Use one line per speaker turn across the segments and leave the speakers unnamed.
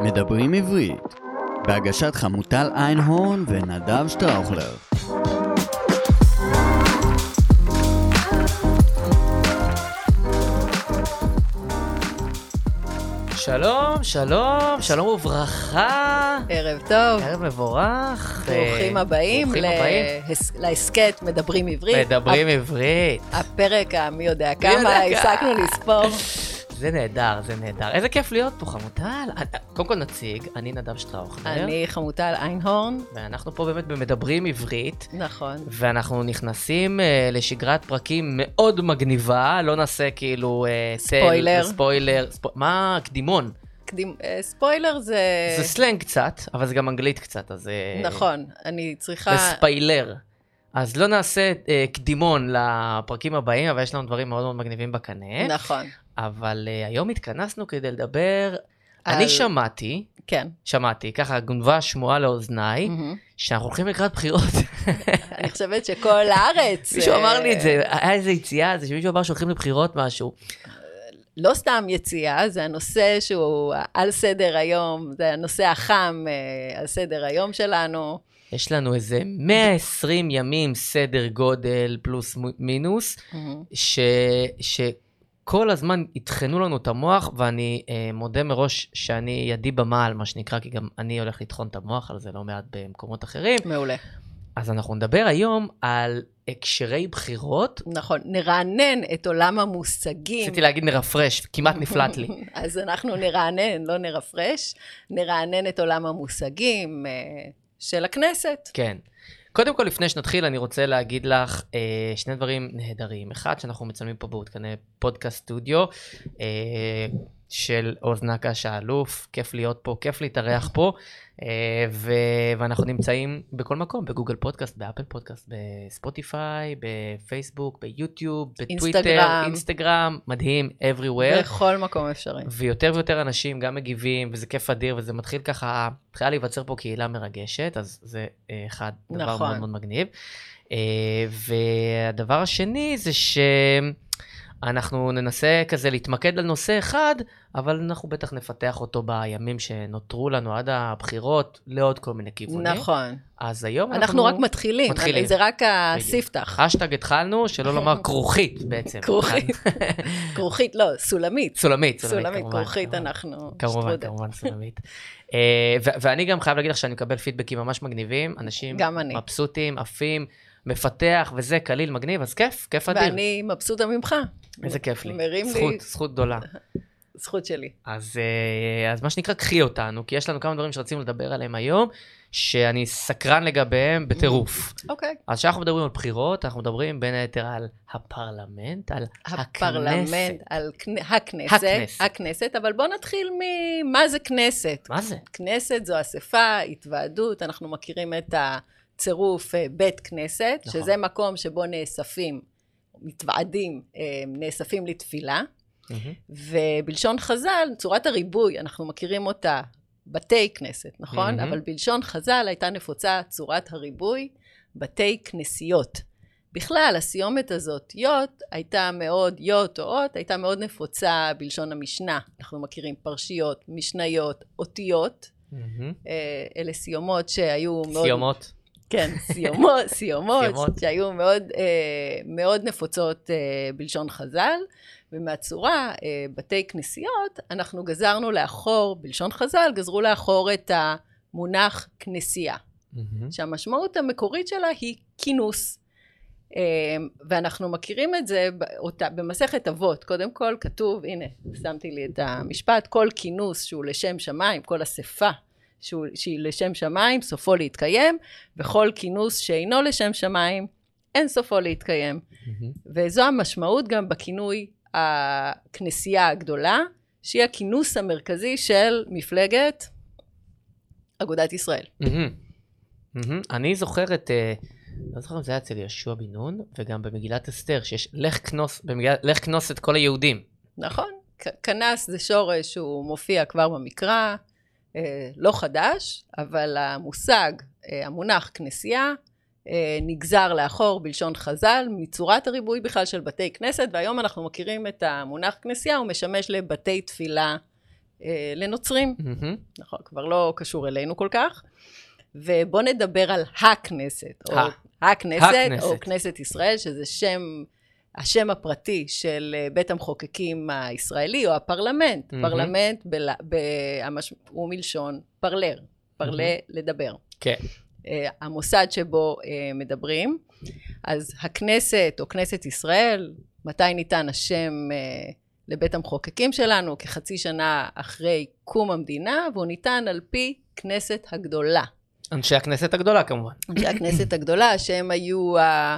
מדברים עברית, בהגשת חמוטל איינהורן ונדב שטראוכלר.
שלום, שלום, שלום וברכה.
ערב טוב,
ערב מבורך.
כן. ברוכים
אה,
הבאים
ברוכים
לה-
הבאים.
הס- להסכת מדברים עברית.
מדברים עברית.
הפ- הפרק המי יודע
יודע
כמה,
כמה.
הפסקנו לספור.
זה נהדר, זה נהדר. איזה כיף להיות פה, חמוטל. אה, קודם כל נציג, אני נדב שטראוכנר.
אני חמוטל איינהורן,
ואנחנו פה באמת במדברים עברית.
נכון.
ואנחנו נכנסים אה, לשגרת פרקים מאוד מגניבה, לא נעשה כאילו... אה, תל-
ספוילר.
ספוילר. ספו... מה? קדימון.
קדים- אה, ספוילר זה...
זה סלנג קצת, אבל זה גם אנגלית קצת, אז... אה,
אה. נכון, אני צריכה...
וספיילר. אז לא נעשה אה, קדימון לפרקים הבאים, אבל יש לנו דברים מאוד מאוד מגניבים בקנה.
נכון,
אבל אה, היום התכנסנו כדי לדבר...
על-
אני שמעתי,
כן.
שמעתי, ככה גונבה שמועה לאוזניי,
מהמם.
שאנחנו הולכים לקראת בחירות.
אני חושבת שכל הארץ...
מישהו
אה,
אמר לי את זה, היה איזה יציאה, זה שמישהו אמר שהולכים לבחירות משהו.
לא סתם יציאה, זה הנושא שהוא על סדר היום, זה הנושא החם אה, על סדר היום שלנו.
יש לנו איזה 120 ימים סדר גודל פלוס מ- מינוס,
מהמם.
ש... שכל הזמן יטחנו לנו את המוח, ואני אה, מודה מראש שאני ידי במעל, מה שנקרא, כי גם אני הולך לטחון את המוח על זה לא מעט במקומות אחרים.
מעולה.
אז אנחנו נדבר היום על הקשרי בחירות.
נכון, נרענן את עולם המושגים.
רציתי להגיד נרפרש, כמעט נפלט לי.
אז אנחנו נרענן, לא נרפרש, נרענן את עולם המושגים אה, של הכנסת.
כן. קודם כל, לפני שנתחיל, אני רוצה להגיד לך אה, שני דברים נהדרים. אחד, שאנחנו מצלמים פה בעודכני פודקאסט סטודיו אה, של עוז נקש האלוף, כיף להיות פה, כיף להתארח פה, אה, ו- ואנחנו נמצאים בכל מקום, בגוגל פודקאסט, באפל פודקאסט, בספוטיפיי, בפייסבוק, ביוטיוב, בטוויטר,
אינסטגרם.
אינסטגרם מדהים, everywhere.
בכל מקום אפשרי.
ויותר ויותר אנשים גם מגיבים, וזה כיף אדיר, וזה מתחיל ככה, מתחילה להיווצר פה קהילה מרגשת, אז זה אה, אחד, דבר
נכון.
מאוד מאוד מגניב. אה, והדבר השני זה שאנחנו ננסה כזה להתמקד על נושא אחד, אבל אנחנו בטח נפתח אותו בימים שנותרו לנו עד הבחירות, לעוד כל מיני כיוונים.
נכון.
אז היום
אנחנו רק מתחילים.
מתחילים.
זה רק הספתח.
אשטג התחלנו, שלא לומר כרוכית בעצם.
כרוכית. כרוכית, לא, סולמית.
צולמית, צולמית,
סולמית,
כמובן,
כרוכית,
כמובן.
אנחנו
כמובן,
שטרודל.
כמובן, סולמית. אה, ו- ואני גם חייב להגיד לך שאני מקבל פידבקים ממש מגניבים, אנשים
גם אני.
מבסוטים, עפים, מפתח וזה, קליל, מגניב, אז כיף, כיף אדיר.
ואני מבסוטה ממך.
איזה כיף לי.
מרים לי-
זכות, זכות גדולה.
זכות שלי.
אז, אה, אז מה שנקרא, קחי אותנו, כי יש לנו כמה דברים שרצינו לדבר עליהם היום, שאני סקרן לגביהם בטירוף.
אוקיי.
אז כשאנחנו מדברים על בחירות, אנחנו מדברים בין היתר על הפרלמנט, על הכנסת.
הפרלמנט, על כנ- הכנסת,
הכנסת.
הכנסת, אבל בואו נתחיל ממה זה כנסת.
מה זה?
כנסת זו אספה, התוועדות, אנחנו מכירים את הצירוף אה, בית כנסת,
נכון.
נכון. שזה מקום שבו נאספים, מתוועדים, אה, נאספים לתפילה,
מהמם.
ובלשון חז"ל, צורת הריבוי, אנחנו מכירים אותה, בתי כנסת, נכון?
מהמם.
אבל בלשון חז"ל הייתה נפוצה צורת הריבוי, בתי כנסיות. בכלל, הסיומת הזאת, יו"ת, הייתה מאוד, יו"ת או אות, הייתה מאוד נפוצה בלשון המשנה. אנחנו מכירים פרשיות, משניות, אותיות.
מהמם.
אה, אלה סיומות שהיו מאוד...
סיומות.
כן, סיומות, סיומות,
סיומות.
שהיו מאוד, אה, מאוד נפוצות אה, בלשון חז"ל, ומהצורה, אה, בתי כנסיות, אנחנו גזרנו לאחור, בלשון חז"ל, גזרו לאחור את המונח כנסייה,
מהמם.
שהמשמעות המקורית שלה היא כינוס. אה, ואנחנו מכירים את זה ב- אותה, במסכת אבות, קודם כל כתוב, הנה, שמתי לי את המשפט, כל כינוס שהוא לשם שמיים, כל אספה שהוא, שהיא לשם שמיים, סופו להתקיים, וכל כינוס שאינו לשם שמיים, אין סופו להתקיים.
מהמם.
וזו המשמעות גם בכינוי הכנסייה הגדולה, שהיא הכינוס המרכזי של מפלגת אגודת ישראל.
מהמם. מהמם. אני זוכר את, אה, לא זוכר אם זה היה אצל יהושע בן נון, וגם במגילת אסתר, שיש לך כנוס, במגילת, לך כנוס את כל היהודים.
נכון, ק- כנס זה שורש שהוא מופיע כבר במקרא, אה, לא חדש, אבל המושג, אה, המונח כנסייה, אה, נגזר לאחור בלשון חז"ל, מצורת הריבוי בכלל של בתי כנסת, והיום אנחנו מכירים את המונח כנסייה, הוא משמש לבתי תפילה אה, לנוצרים.
מהמם.
נכון, כבר לא קשור אלינו כל כך. ובואו נדבר על הכנסת, או
ה-
הכנסת,
הכנסת.
או כנסת ישראל, שזה שם, השם הפרטי של אה, בית המחוקקים הישראלי, או הפרלמנט.
מהמם.
פרלמנט בל, בהמש, הוא מלשון פרלר, פרלה לדבר.
כן.
אה, המוסד שבו אה, מדברים. אז הכנסת, או כנסת ישראל, מתי ניתן השם אה, לבית המחוקקים שלנו? כחצי שנה אחרי קום המדינה, והוא ניתן על פי כנסת הגדולה.
אנשי הכנסת הגדולה כמובן.
אנשי הכנסת הגדולה, שהם היו ה-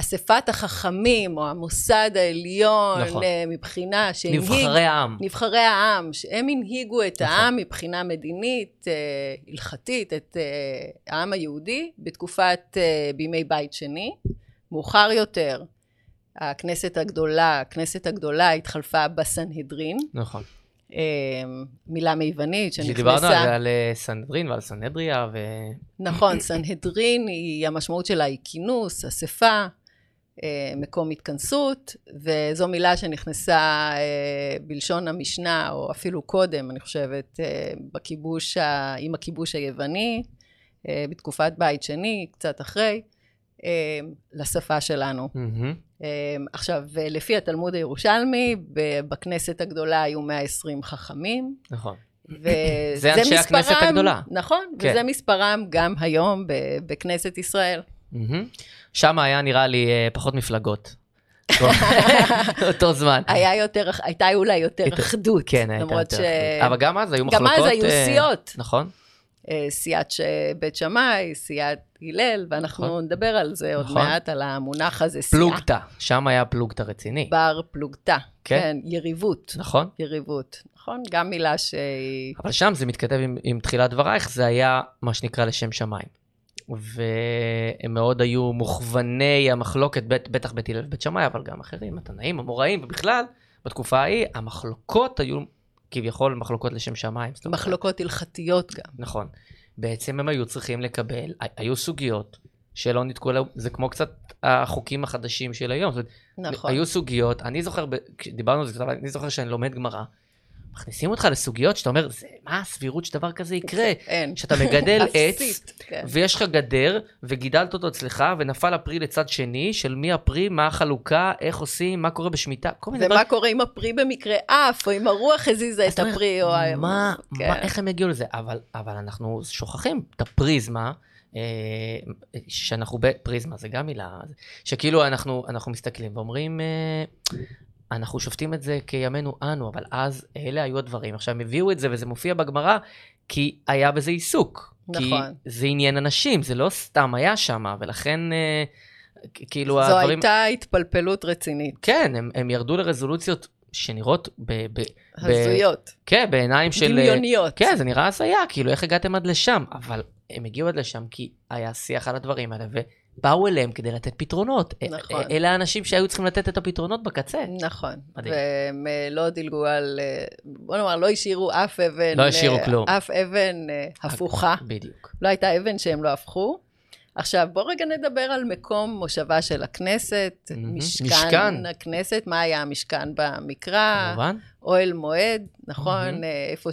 אספת החכמים, או המוסד העליון,
נכון.
אה, מבחינה שהנהיג...
נבחרי העם.
נבחרי העם, שהם הנהיגו את
נכון.
העם מבחינה מדינית, אה, הלכתית, את אה, העם היהודי, בתקופת, אה, בימי בית שני. מאוחר יותר, הכנסת הגדולה, הכנסת הגדולה התחלפה בסנהדרין,
נכון.
אה, מילה מיוונית שנכנסה...
שדיברנו על זה, על אה, סנהדרין ועל סנהדריה, ו...
נכון, סנהדרין, היא, המשמעות שלה היא כינוס, אספה, אה, מקום התכנסות, וזו מילה שנכנסה אה, בלשון המשנה, או אפילו קודם, אני חושבת, אה, בכיבוש, ה, עם הכיבוש היווני, אה, בתקופת בית שני, קצת אחרי, אה, לשפה שלנו.
מהמם.
אה, עכשיו, אה, לפי התלמוד הירושלמי, ב- בכנסת הגדולה היו 120 חכמים,
נכון.
וזה
זה אנשי הכנסת
מספרם-
הגדולה.
נכון,
כן.
וזה מספרם גם היום ב- בכנסת ישראל.
אה. מהמם. שם היה נראה לי אה, פחות מפלגות. אותו זמן.
היה יותר, הייתה אולי יותר
הייתה-
אחדות.
כן, הייתה
למרות
יותר
ש-
אחדות. אבל גם אז היו
גם
מחלוקות.
אז היו
אה,
סיעות.
נכון.
אה, סיעת ש- בית שמאי, סיעת הלל, ואנחנו
נכון.
נדבר על זה עוד
נכון.
מעט, על המונח הזה, סיעה.
פלוגתא. שם היה פלוגתא רציני.
בר פלוגתא.
כן.
כן, יריבות.
נכון.
יריבות, נכון? גם מילה שהיא...
אבל שם זה מתכתב עם, עם תחילת דברייך, זה היה מה שנקרא לשם שמיים. והם מאוד היו מוכווני המחלוקת, בט, בטח בית הלל ובית שמאי, אבל גם אחרים, התנאים, המוראים, ובכלל, בתקופה ההיא, המחלוקות היו כביכול מחלוקות לשם שמיים. זאת אומרת,
מחלוקות הלכתיות גם.
נכון. בעצם הם היו צריכים לקבל, ה- היו סוגיות שלא נתקעו, לה- זה כמו קצת החוקים החדשים של היום. זאת אומרת,
נכון.
היו סוגיות, אני זוכר, ב- כשדיברנו על זה, אבל אני זוכר שאני לומד גמרא, מכניסים אותך לסוגיות שאתה אומר, "זה- מה הסבירות שדבר כזה יקרה?
אין.
שאתה מגדל עץ,
אפסית, כן.
ויש לך גדר, וגידלת אותו אצלך, ונפל הפרי לצד שני, של מי הפרי, מה החלוקה, איך עושים, מה קורה בשמיטה, כל מיני דברים.
ומה קורה אם הפרי במקרה עף, או אם הרוח הזיזה
אז
את
אתה אומר,
הפרי, או... ה-
מה,
כן.
מה- איך הם יגיעו לזה? אבל, אבל אנחנו שוכחים את הפריזמה, אה, שאנחנו, ב- פריזמה זה גם מילה, שכאילו אנחנו, אנחנו מסתכלים ואומרים, אה, אנחנו שופטים את זה כימינו אנו, אבל אז אלה היו הדברים. עכשיו, הם הביאו את זה וזה מופיע בגמרא, כי היה בזה עיסוק.
נכון.
כי זה עניין אנשים, זה לא סתם היה שם, ולכן, אה, כ- כאילו,
זו
הדברים...
הייתה התפלפלות רצינית.
כן, הם, הם ירדו לרזולוציות שנראות ב... ב
הזויות,
כן, בעיניים של...
דמיוניות.
כן, זה נראה הזיה, כאילו, איך הגעתם עד לשם? אבל הם הגיעו עד לשם כי היה שיח על הדברים האלה, ובאו אליהם כדי לתת פתרונות.
נכון.
א- א- אלה האנשים שהיו צריכים לתת את הפתרונות בקצה.
נכון.
מדהים.
והם אה, לא דילגו על... אה, בוא נאמר, לא השאירו אף אבן...
לא השאירו
אה,
כלום.
אף אבן אה, הפוכה.
בדיוק.
לא הייתה אבן שהם לא הפכו. עכשיו, בואו רגע נדבר על מקום מושבה של הכנסת,
מהמם.
משכן
משכן.
הכנסת, מה היה המשכן במקרא,
כמובן.
אוהל מועד, נכון?
מהמם.
אה, איפה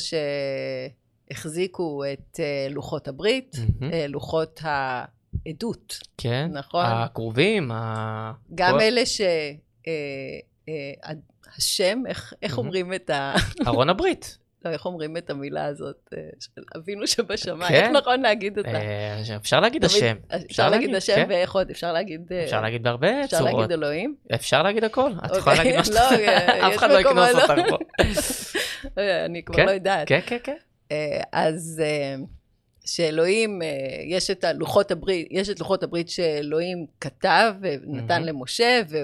שהחזיקו את אה, לוחות הברית,
מהמם.
אה, לוחות העדות,
כן.
נכון.
הקרובים, ה...
גם
כל-
אלה ש... אה, אה, הד- השם, איך, איך
מהמם.
אומרים את ה...
ארון הברית.
לא, איך אומרים את המילה הזאת? אה, של אבינו שבשמיים,
כן.
איך נכון להגיד אותה?
אה, אפשר להגיד
תמיד-
השם.
אפשר להגיד השם,
כן.
ואיך עוד? אפשר להגיד... אה,
אפשר להגיד בהרבה
אפשר
צורות.
להגיד אלוהים?
אפשר להגיד הכל. את יכולה
אוקיי,
להגיד מה
לא,
שאתה...
אה,
אף
יש
אחד לא יקנוס
מקומות,
אותך פה.
אה, אני כבר
כן?
לא יודעת.
כן, כן, כן.
אה, אז אה, שאלוהים, אה, יש את לוחות הברית, יש את לוחות הברית שאלוהים כתב ונתן
מהמם.
למשה, אה,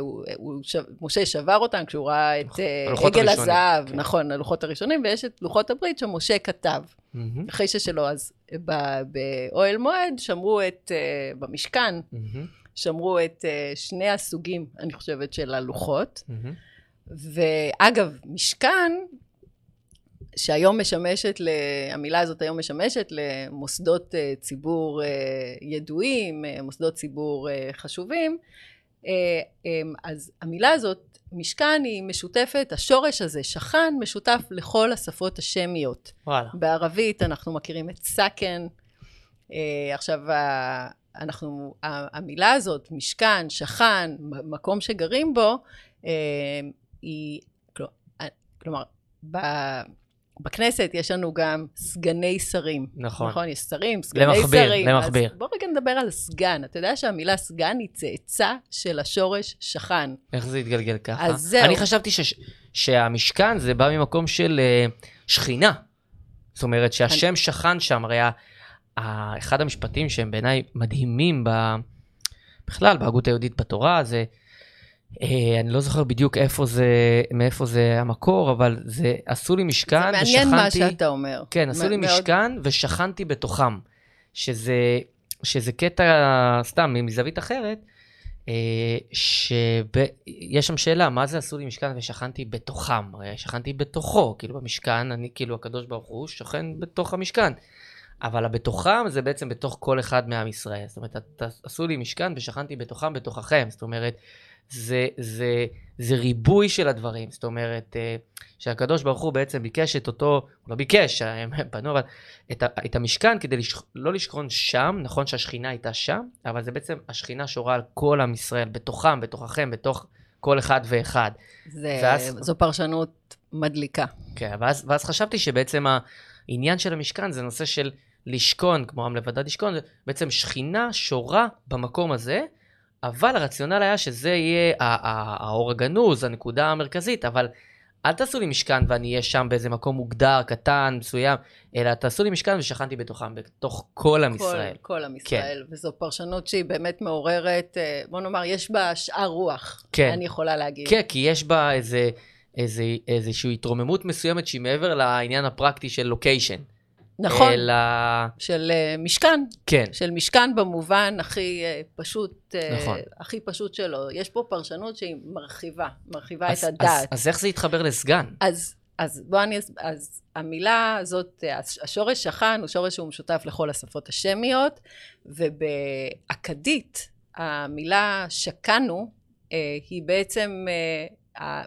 ומשה שבר אותם כשהוא ראה את אה,
נכון. הלוחות
עגל
הראשונים,
הזהב,
כן.
נכון, הלוחות הראשונים, ויש את לוחות הברית שמשה כתב.
מהמם,
אחרי ששלו, אז ב- באוהל מועד שמרו את, אה, במשכן,
מהמם,
שמרו את אה, שני הסוגים, אני חושבת, של הלוחות.
מהמם.
ואגב, משכן, שהיום משמשת, ל... המילה הזאת היום משמשת למוסדות אה, ציבור אה, ידועים, אה, מוסדות ציבור אה, חשובים, אה, אה, אז המילה הזאת, משכן, היא משותפת, השורש הזה, שכן, משותף לכל השפות השמיות.
וואלה.
בערבית אנחנו מכירים את סכן. אה, עכשיו, ה- אנחנו, ה- המילה הזאת, משכן, שכן, מ- מקום שגרים בו, אה, היא, כל- אה, כלומר, ב- בכנסת יש לנו גם סגני שרים.
נכון.
נכון, יש שרים, סגני
למכביר,
שרים.
למכביר.
אז בוא רגע נדבר על סגן. אתה יודע שהמילה סגן היא צאצא של השורש שכן.
איך זה התגלגל ככה?
אז זהו.
אני חשבתי ש... שהמשכן זה בא ממקום של אה, שכינה. זאת אומרת שהשם שכן שם, הרי ה- ה- אחד המשפטים שהם בעיניי מדהימים ב... בכלל בהגות היהודית בתורה זה, אה, אני לא זוכר בדיוק איפה זה, מאיפה זה המקור, אבל זה עשו לי משכן
זה
כן, ושכנתי...
מעניין מה שאתה אומר.
כן, עשו
מ-
לי
מאוד.
משכן ושכנתי בתוכם. שזה, שזה קטע, סתם, מזווית אחרת, אה, שיש שם שאלה, מה זה עשו לי משכן ושכנתי בתוכם? הרי שכנתי בתוכו, כאילו במשכן, אני כאילו הקדוש ברוך הוא שוכן בתוך המשכן. אבל הבתוכם זה בעצם בתוך כל אחד מעם ישראל. זאת אומרת, "ת- עשו לי משכן ושכנתי בתוכם בתוככם. זאת אומרת, זה, זה, זה ריבוי של הדברים. זאת אומרת, אה, שהקדוש ברוך הוא בעצם ביקש את אותו, הוא לא ביקש, הם פנו, אבל את, ה- את המשכן כדי לשכ... לא לשכון שם, נכון שהשכינה הייתה שם, אבל זה בעצם השכינה שורה על כל עם ישראל, בתוכם, בתוככם, בתוך כל אחד ואחד.
זה-
ואז-
זו פרשנות מדליקה.
כן, ואז, ואז חשבתי שבעצם העניין של המשכן זה נושא של לשכון, כמו עם לבדד לשכון, זה בעצם שכינה שורה במקום הזה, אבל הרציונל היה שזה יהיה ה- ה- האור הגנוז, הנקודה המרכזית, אבל אל תעשו לי משכן ואני אהיה שם באיזה מקום מוגדר, קטן, מסוים, אלא תעשו לי משכן ושכנתי בתוכם, בתוך כל עם
כל,
ישראל.
כל עם ישראל. כן. וזו פרשנות שהיא באמת מעוררת, אה, בוא נאמר, יש בה שאר רוח.
כן.
אני יכולה להגיד.
כן, כי יש בה איזה, איזה, איזושהי התרוממות מסוימת שהיא מעבר לעניין הפרקטי של לוקיישן.
נכון.
אלא...
של אה, משכן,
כן,
של משכן במובן הכי אה, פשוט, אה,
נכון.
הכי פשוט שלו. יש פה פרשנות שהיא מרחיבה, מרחיבה
אז-
את הדעת.
אז, אז איך זה התחבר לסגן?
אז, אז בוא אני... אס- אז המילה הזאת, אה, הש- השורש שכן הוא שורש שהוא משותף לכל השפות השמיות, ובאכדית המילה שקנו אה, היא בעצם אה, ה-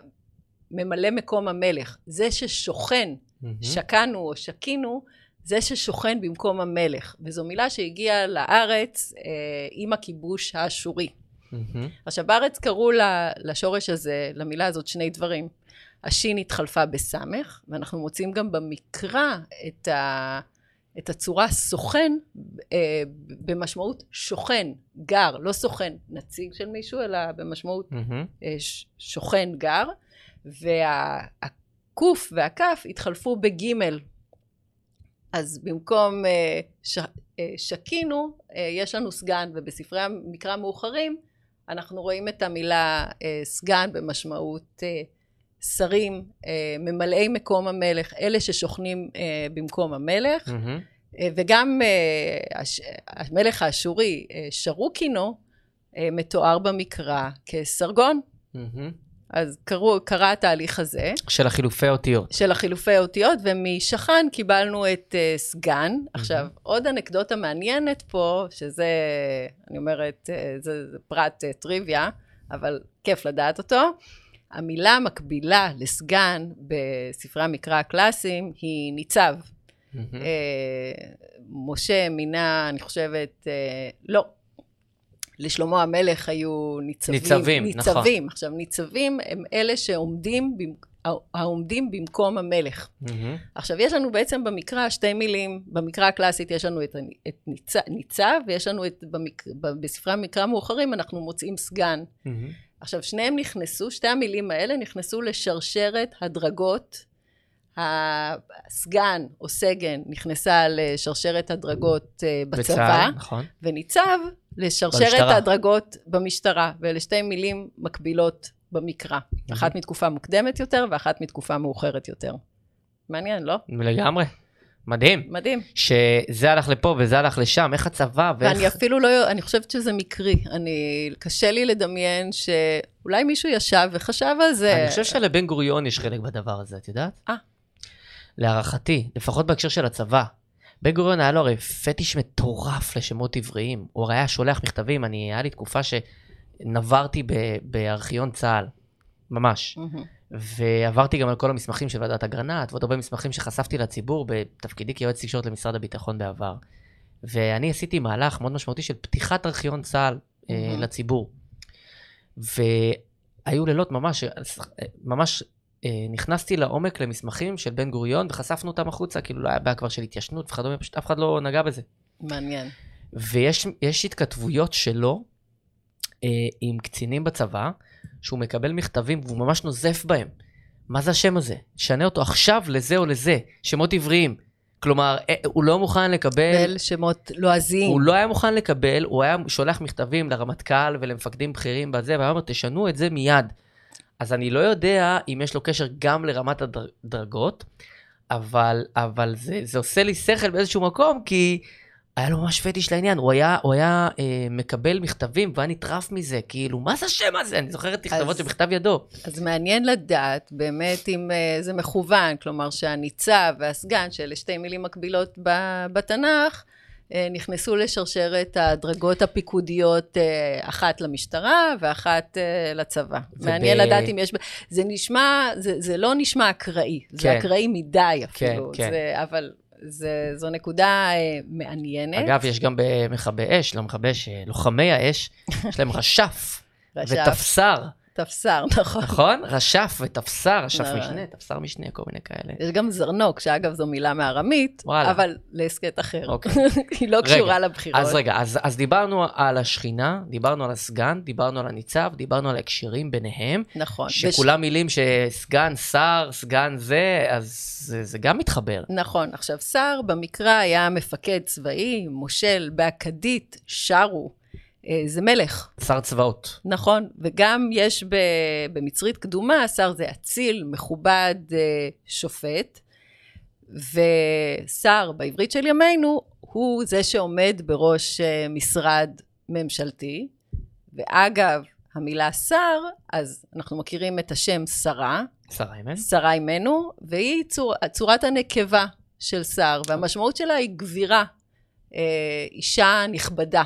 ממלא מקום המלך. זה ששוכן,
Mm-hmm.
שקנו או שקינו, זה ששוכן במקום המלך. וזו מילה שהגיעה לארץ אה, עם הכיבוש האשורי.
מהמם.
עכשיו בארץ קראו ל- לשורש הזה, למילה הזאת, שני דברים. השין התחלפה בסמך, ואנחנו מוצאים גם במקרא את, ה, את הצורה סוכן אה, במשמעות שוכן, גר, לא סוכן נציג של מישהו, אלא במשמעות
מהמם.
אה, ש- שוכן גר, והקוף והכף התחלפו בגימל. אז במקום אה, ש, אה, שקינו, אה, יש לנו סגן, ובספרי המקרא המאוחרים אנחנו רואים את המילה אה, סגן במשמעות אה, שרים, אה, ממלאי מקום המלך, אלה ששוכנים אה, במקום המלך.
מהמם.
אה, וגם אה, הש- המלך האשורי, אה, שרוקינו, אה, מתואר במקרא כסרגון.
מהמם.
אז קרו, קרה התהליך הזה
של החילופי אותיות.
של החילופי האותיות, ומשכן קיבלנו את uh, סגן. עכשיו, עוד אנקדוטה מעניינת פה, שזה, אני אומרת, uh, זה, זה פרט uh, טריוויה, אבל כיף לדעת אותו. המילה המקבילה לסגן בספרי המקרא הקלאסיים היא ניצב.
מהמם.
אה, משה מינה, אני חושבת, אה, לא. לשלמה המלך היו ניצבים.
ניצבים, נכון.
ניצבים. עכשיו, ניצבים הם אלה שעומדים, במק- העומדים במקום המלך.
מהמם.
עכשיו, יש לנו בעצם במקרא שתי מילים, במקרא הקלאסית יש לנו את, הנ- את ניצ, ניצב, ויש לנו את, במק, ב- בספרי המקרא המאוחרים אנחנו מוצאים סגן.
מהמם.
עכשיו, שניהם נכנסו, שתי המילים האלה נכנסו לשרשרת הדרגות. הסגן או סגן נכנסה לשרשרת הדרגות אה, בצבא,
בצה"ל, נכון.
וניצב לשרשרת
במשטרה.
הדרגות במשטרה, ואלה שתי מילים מקבילות במקרא. אחת מתקופה מוקדמת יותר ואחת מתקופה מאוחרת יותר. מעניין, לא?
לגמרי. מדהים.
מדהים.
שזה הלך לפה וזה הלך לשם, איך הצבא ואיך...
ואני אפילו לא, אני חושבת שזה מקרי. אני, קשה לי לדמיין שאולי מישהו ישב וחשב על זה.
אני חושב שלבן גוריון יש חלק בדבר הזה, את יודעת?
אה.
להערכתי, לפחות בהקשר של הצבא. בן גוריון היה לו הרי פטיש מטורף לשמות עבריים. הוא הרי היה שולח מכתבים, אני, היה לי תקופה ש... נברתי ב, בארכיון צה"ל, ממש.
מהמם.
ועברתי גם על כל המסמכים של ועדת אגרנט, ועוד הרבה מסמכים שחשפתי לציבור בתפקידי כיועץ תקשורת למשרד הביטחון בעבר. ואני עשיתי מהלך מאוד משמעותי של פתיחת ארכיון צה"ל אה,
Mhm.
לציבור. והיו לילות ממש, ממש אה, נכנסתי לעומק למסמכים של בן גוריון וחשפנו אותם החוצה, כאילו לא היה בעיה כבר של התיישנות וכדומה, פשוט אף אחד לא נגע בזה.
מעניין.
ויש יש התכתבויות שלו אה, עם קצינים בצבא, שהוא מקבל מכתבים והוא ממש נוזף בהם. מה זה השם הזה? שנה אותו עכשיו לזה או לזה, שמות עבריים. כלומר, אה, הוא לא מוכן לקבל,
בל שמות לועזיים.
הוא לא היה מוכן לקבל, הוא היה שולח מכתבים לרמטכ"ל ולמפקדים בכירים בזה, והיה אומר, תשנו את זה מיד. אז אני לא יודע אם יש לו קשר גם לרמת הדרגות, אבל, אבל זה, זה עושה לי שכל באיזשהו מקום, כי היה לו ממש פטיש לעניין. הוא היה, הוא היה אה, מקבל מכתבים והיה נטרף מזה, כאילו, מה זה השם הזה? אני זוכר את תכתבות
אז-
שבכתב ידו.
אז מעניין לדעת באמת אם אה, זה מכוון, כלומר שהניצב והסגן, שאלה שתי מילים מקבילות ב- בתנ"ך, אה, נכנסו לשרשרת הדרגות הפיקודיות, אה, אחת למשטרה ואחת אה, לצבא.
וב-
מעניין לדעת אם יש... ב- זה נשמע, זה, זה לא נשמע אקראי, זה
כן.
אקראי מדי אפילו,
כן.
זה, אבל זה, זו נקודה אה, מעניינת.
אגב, יש גם במכבי אש, לא מכבי אש, אה, לוחמי האש, יש להם רש"ף
רש"ף,
ותפס"ר.
תפסר, נכון.
נכון? רש"ף ותפסר, רש"ף
נכון.
משנה, תפסר משנה, כל מיני כאלה.
יש גם זרנוק, שאגב זו מילה מארמית,
וואלה.
אבל להסכת אחר.
אוקיי.
היא לא
רגע,
קשורה לבחירות.
אז אה, רגע, אז, אז דיברנו על השכינה, דיברנו על הסגן, דיברנו על הניצב, דיברנו על ההקשרים ביניהם,
נכון.
שכולם מילים שסגן שר, סגן זה, אז זה, זה גם מתחבר.
וש... נכון. עכשיו, שר במקרא היה מפקד צבאי, מושל, באכדית, שרו. אה, זה מלך,
שר צבאות.
נכון? וגם יש ב... במצרית קדומה, שר זה אציל, מכובד, אה, שופט. ושר בעברית של ימינו, הוא זה שעומד בראש אה, משרד ממשלתי. ואגב, המילה שר, אז אנחנו מכירים את השם שרה,
שרה אמן?
שרה אימנו, והיא צור, צורת הנקבה של שר, והמשמעות שלה היא גבירה, אה, אישה נכבדה.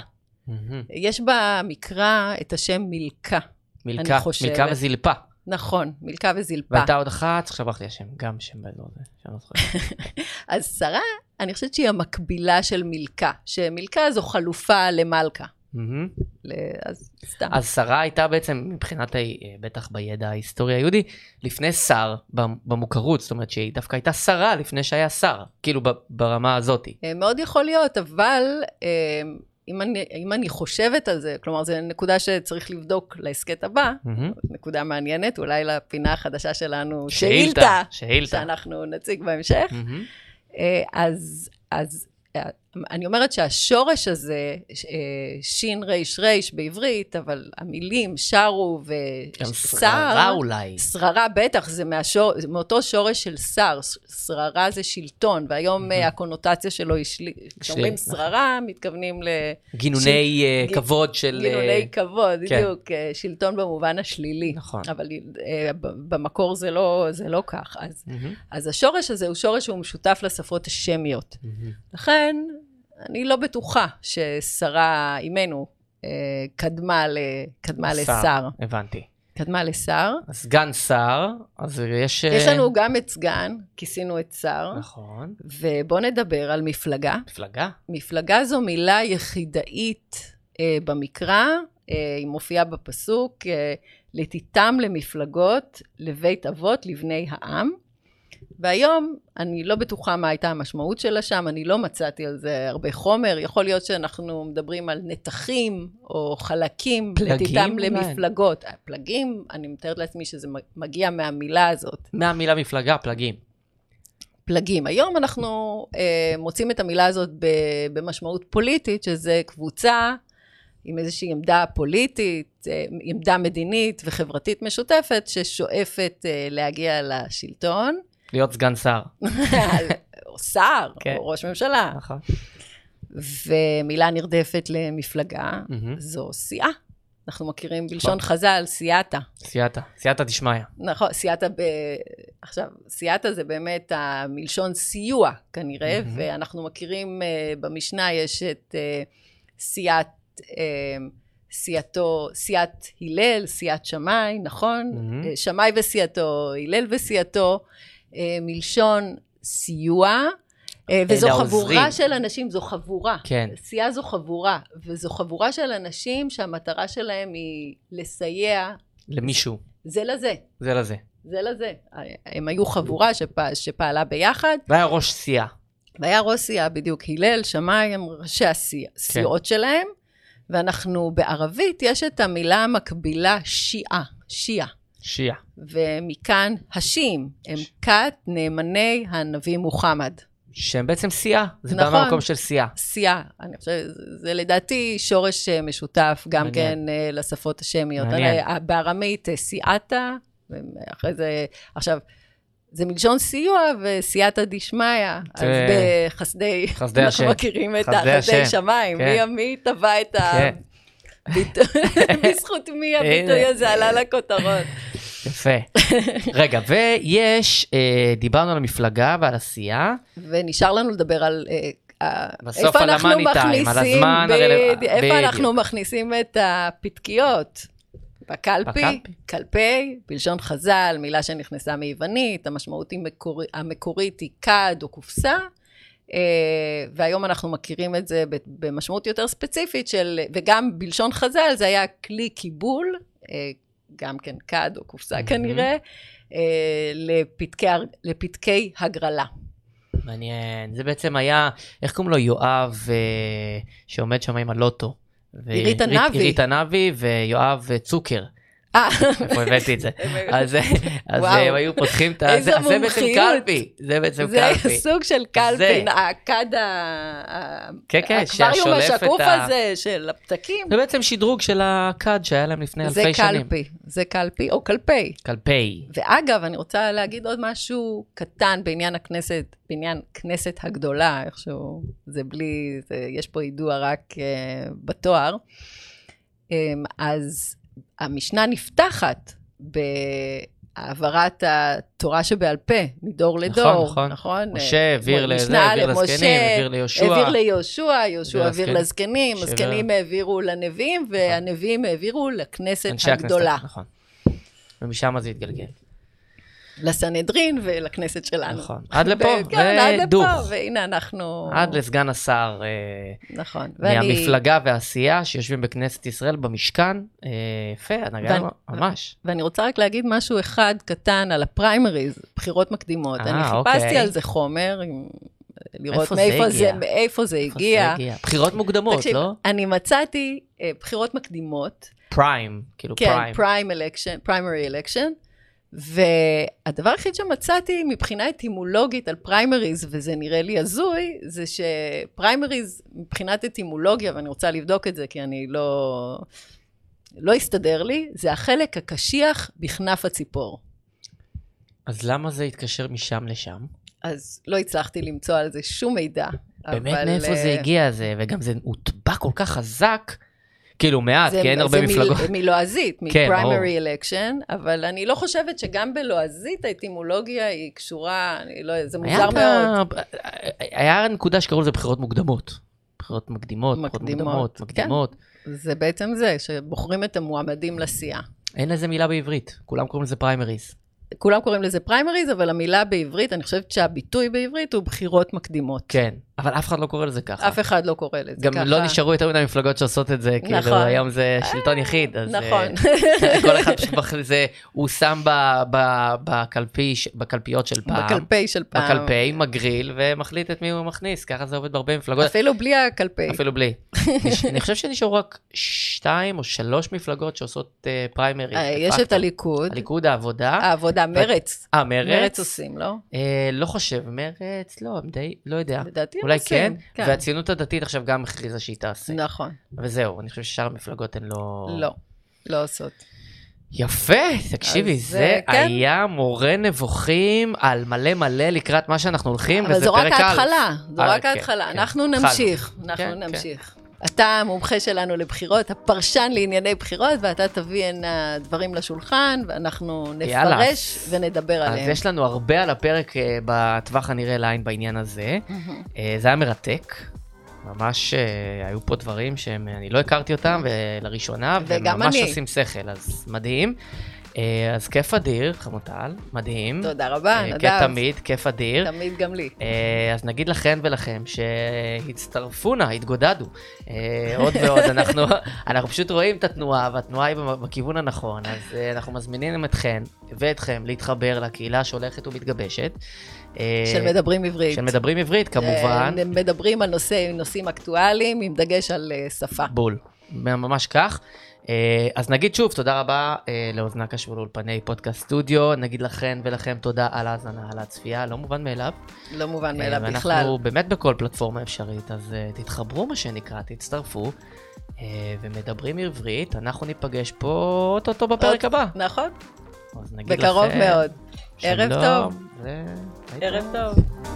מהמם.
יש במקרא את השם מילכה,
מילכה,
חושבת.
מילכה וזלפה.
נכון, מילכה וזלפה.
והייתה עוד אחת, עכשיו ברח לי השם, גם שם באזור הזה, שאני לא זוכר.
אז שרה, אני חושבת שהיא המקבילה של מילכה, שמילכה זו חלופה למלכה.
מהמם.
ל- אז סתם.
אז שרה הייתה בעצם, מבחינת, ה- אה, בטח בידע ההיסטורי היהודי, לפני שר במוכרות, זאת אומרת שהיא דווקא הייתה שרה לפני שהיה שר, כאילו ב- ברמה הזאתי.
אה, מאוד יכול להיות, אבל אה, אם אני, אם אני חושבת על זה, כלומר, זו נקודה שצריך לבדוק להסכת הבא,
מהמם.
נקודה מעניינת, אולי לפינה החדשה שלנו, שאילתה,
שאילתה. שאילתה.
שאנחנו נציג בהמשך.
מהמם.
אה, אז, אז אה, אני אומרת שהשורש הזה, ש- אה, שין ריש ריש בעברית, אבל המילים שרו
גם
ושר,
שררה אולי.
שררה בטח, זה מהשור, זה מאותו שורש של שר, ש- שררה זה שלטון, והיום אה,
Mhm.
הקונוטציה שלו היא שלי... כשאומרים
נכון.
שררה, מתכוונים
גינוני אה,
ג-
כבוד של... אה,
לגינוני כבוד,
כן.
בדיוק, אה, שלטון במובן השלילי.
נכון.
אבל אה, ב- במקור זה לא, זה לא כך. אז,
מהמם.
אז השורש הזה הוא שורש שהוא משותף לשפות השמיות.
מהמם.
לכן, אני לא בטוחה ששרה אימנו אה, קדמה, ל, קדמה
שר.
לשר.
הבנתי.
קדמה לשר.
אז סגן שר, אז יש... אה,
יש לנו גם את סגן, כיסינו את שר,
נכון.
ובואו נדבר על מפלגה.
מפלגה.
מפלגה זו מילה יחידאית אה, במקרא, אה, היא מופיעה בפסוק, אה, לתיתם למפלגות, לבית אבות, לבני העם. והיום, אני לא בטוחה מה הייתה המשמעות שלה שם, אני לא מצאתי על זה הרבה חומר. יכול להיות שאנחנו מדברים על נתחים או חלקים,
פלגים
לתיתם
אולי?
למפלגות. אה, פלגים, אני מתארת לעצמי שזה מגיע מהמילה הזאת.
מהמילה מפלגה, פלגים.
פלגים. היום אנחנו אה, מוצאים את המילה הזאת ב, במשמעות פוליטית, שזה קבוצה עם איזושהי עמדה פוליטית, אה, עמדה מדינית וחברתית משותפת, ששואפת אה, להגיע לשלטון,
להיות סגן שר.
או שר,
כן.
או ראש ממשלה.
נכון.
ומילה נרדפת למפלגה,
מהמם.
זו סיעה. אנחנו מכירים בלשון חז"ל, סייעתא.
סייעתא. סייעתא דשמיא.
נכון, סייעתא ב... עכשיו, סייעתא זה באמת ה- מלשון סיוע כנראה, אה,
מהמם.
mm-hmm. אה, ואנחנו מכירים, uh, במשנה יש את uh, סייעת, uh, סיעתו, סיעת הלל, סיעת שמאי, נכון?
Mhm.
Mm-hmm. שמאי וסיעתו, הלל וסיעתו, אה, מלשון סיוע, אה, וזו
אלה העוזרים.
חבורה של אנשים, זו חבורה.
כן.
סיעה זו חבורה, וזו חבורה של אנשים שהמטרה שלהם היא לסייע
למישהו,
זה לזה,
זה לזה.
זה לזה. הם היו חבורה שפע, שפעלה ביחד,
והיה ראש סיעה.
והיה ראש סיעה בדיוק, הלל, שמאי, הם ראשי הסיע- הסיעות כן. שלהם, ואנחנו בערבית, יש את המילה המקבילה שיעה, שיעה,
שיעה.
ומכאן השיעים, הם כת נאמני הנביא מוחמד.
שהם בעצם סיעה. זה בא
נכון.
מהמקום של סיעה.
סיעה, אני חושבת, זה- זה לדעתי שורש אה, משותף גם
מעניין.
כן אה, לשפות השמיות.
מעניין.
הרי, אה, בארמית אה, סיעתא, ואחרי זה, עכשיו, זה מלשון סיוע וסייעתא דשמיא, אז
זה-
בחסדי,
כן. חסדי השם.
אנחנו מכירים את
חסדי
החסדי
השם.
שמיים,
כן.
מי- מי טבע את ה...
כן.
ביטוי- בזכות מי הביטוי
הנה.
הזה עלה לכותרות.
יפה. רגע, ויש, אה, דיברנו על המפלגה ועל הסיעה.
ונשאר לנו לדבר על... אה, ה-
בסוף
איפה
על
אנחנו
המאני טיים, על
מכניסים-
הזמן הרלו-
בדי- איפה
בדיוק.
אנחנו מכניסים את הפתקיות? בקלפי,
בקלפי.
קלפי, בלשון חז"ל, מילה שנכנסה מיוונית, המשמעות היא מקור, המקורית היא כד או קופסה, אה, והיום אנחנו מכירים את זה ב- במשמעות יותר ספציפית של, וגם בלשון חז"ל זה היה כלי קיבול, אה, גם כן כד או קופסה
מהמם.
כנראה, אה, לפתקי, הר- לפתקי הגרלה.
מעניין. זה בעצם היה, איך קוראים לו? יואב, אה, שעומד שם עם הלוטו. ו-
עירית ענבי.
עירית ענבי ויואב אה, צוקר.
אה,
איפה הבאתי את זה? אז אה, אז
וואו.
הם היו פותחים את ה...
איזה
זה- אז זה בעצם
מומחיות.
קלפי. זה בעצם
זה
קלפי.
סוג של
זה.
קלפי, הכד ה- ה-
כן, כן,
האקווריום
שהשולף את
השקוף
ה-
הזה של הפתקים.
זה בעצם שדרוג של הכד שהיה להם לפני
זה
אלפי שנים.
קלפי, זה קלפי או קלפי.
קלפי.
ואגב, אני רוצה להגיד עוד משהו קטן בעניין הכנסת, בעניין כנסת הגדולה, איכשהו, זה בלי, זה, יש פה יידוע רק uh, בתואר. Um, אז המשנה נפתחת בהעברת התורה שבעל פה, מדור
נכון,
לדור,
נכון.
נכון? אה,
משה העביר לזה,
משנה
העביר
למשה,
לזקנים, העביר ליהושע.
העביר ליהושע, יהושע
העביר
העביר
לזקנים.
לזקנים,
שהעביר-
הזקנים העבירו לנביאים, והנביאים העבירו לכנסת
נכון. אנשי הכנסת,
הגדולה.
נכון. ומשם זה התגלגל.
לסנהדרין ולכנסת שלנו.
נכון. עד לפה,
אה, כן, עד לפה,
ודוך.
והנה אנחנו...
עד לסגן השר אה,
נכון. ואני-
מהמפלגה והעשייה שיושבים בכנסת ישראל במשכן. אה, יפה, הנהגה
ואני-
ממש.
ואני רוצה רק להגיד משהו אחד קטן על הפריימריז, בחירות מקדימות.
אה,
אני חיפשתי
אוקיי.
על זה חומר, עם- לראות
איפה זה
מאיפה זה-
הגיע?
מאיפה זה
איפה
הגיע.
בחירות מוקדמות,
תקשיב,
לא?
אני מצאתי אה, בחירות מקדימות,
פריים, כאילו
כן,
פריים.
פריים אלקשן, פריימרי אלקשן, והדבר היחיד שמצאתי מבחינה אטימולוגית על פריימריז, וזה נראה לי הזוי, זה שפריימריז מבחינת אטימולוגיה, ואני רוצה לבדוק את זה כי אני לא... לא הסתדר לי, זה החלק הקשיח בכנף הציפור.
אז למה זה התקשר משם לשם?
אז לא הצלחתי למצוא על זה שום מידע.
באמת
אבל,
מאיפה זה
אה,
הגיע זה, וגם זה הוטבע כל כך חזק, כאילו מעט,
זה-
כי אין הרבה
זה מיל-
מפלגות.
מלועזית,
כן,
מפריימרי אלקשן, אבל אני לא חושבת שגם בלועזית האטימולוגיה היא קשורה, אני לא, זה
היה
מוזר
את
מאוד.
ה- היה נקודה שקראו לזה בחירות מוקדמות. בחירות מקדימות, בחירות מוקדמות,
מקדימות, כן.
מקדימות.
זה בעצם זה, שבוחרים את המועמדים לסיעה.
אין לזה מילה בעברית, כולם קוראים לזה פריימריז.
כולם קוראים לזה פריימריז, אבל המילה בעברית, אני חושבת שהביטוי בעברית הוא בחירות מקדימות.
כן, אבל אף אחד לא קורא לזה ככה.
אף אחד לא קורא לזה
גם
ככה.
לא נשארו יותר מדי מפלגות שעושות את זה, כאילו
נכון.
היום זה שלטון יחיד, אז אה,
נכון.
כל אחד פשוט בחר- זה, הוא שם ב- ב- בקלפי ש- בקלפיות של פעם,
בקלפי של פעם.
בקלפי, מגריל, ומחליט את מי הוא מכניס, ככה זה עובד בהרבה מפלגות.
אפילו בלי הקלפי.
אפילו בלי. נש- אני חושב שנשארו רק שתיים או שלוש מפלגות שעושות אה, פריימריז.
אה,
דה
יש את
פקטו.
הליכוד,
הליכוד, העבודה.
העבודה, מרץ.
אה, מרץ?
מרץ עושים, לא?
אה, לא חושב, מרץ, לא, אני די, לא יודע.
לדעתי הם
אולי כן.
עושים.
והציונות הדתית עכשיו גם הכריזה שהיא תעשה.
נכון.
וזהו, אני חושב ששאר המפלגות הן לא...
לא, לא עושות.
יפה, תקשיבי,
אז,
זה
אה, כן.
היה מורה נבוכים על מלא מלא לקראת מה שאנחנו הולכים, וזה
אבל
פרק א'.
זו רק ההתחלה, זו
אה,
רק
כן,
ההתחלה.
כן.
אנחנו
התחלנו.
נמשיך, אנחנו
כן,
נמשיך. אתה המומחה שלנו לבחירות, הפרשן לענייני בחירות, ואתה תביא הנה דברים לשולחן, ואנחנו
יאללה.
נפרש ונדבר
אז
עליהם.
יש לנו
Mm-hmm.
הרבה על הפרק אה, בטווח הנראה לעין בעניין הזה. אה, זה היה מרתק, ממש אה, היו פה דברים שאני לא הכרתי אותם, ולראשונה,
וגם
והם ממש
אני.
עושים שכל, אז מדהים. אה, אז כיף אדיר, חמוטל, מדהים.
תודה רבה,
אה,
נדב.
כתמיד, כיף אדיר.
תמיד גם לי.
אה, אז נגיד לכן ולכם שהצטרפו נא, התגודדו. אה, עוד ועוד, אנחנו, אנחנו פשוט רואים את התנועה, והתנועה היא בכיוון הנכון, אז אה, אנחנו מזמינים אתכן ואתכם להתחבר לקהילה שהולכת ומתגבשת. אה,
של מדברים עברית. אה,
של מדברים עברית, כמובן.
הם מדברים על נושא, נושאים אקטואליים עם דגש על אה, שפה.
בול, ממש כך. אה, אז נגיד שוב, תודה רבה אה, לאוזנה קשור לאולפני פודקאסט סטודיו. נגיד לכן ולכם תודה על ההאזנה, על הצפייה, לא מובן מאליו.
לא מובן מאליו
אה,
בכלל.
ואנחנו באמת בכל פלטפורמה אפשרית, אז אה, תתחברו מה שנקרא, תצטרפו. אה, ומדברים עברית, אנחנו ניפגש פה אוטוטו בפרק
עוד-
הבא.
נכון?
אז נגיד
בקרוב
לכם,
מאוד. ערב
שלום,
טוב.
ו-
ערב טוב.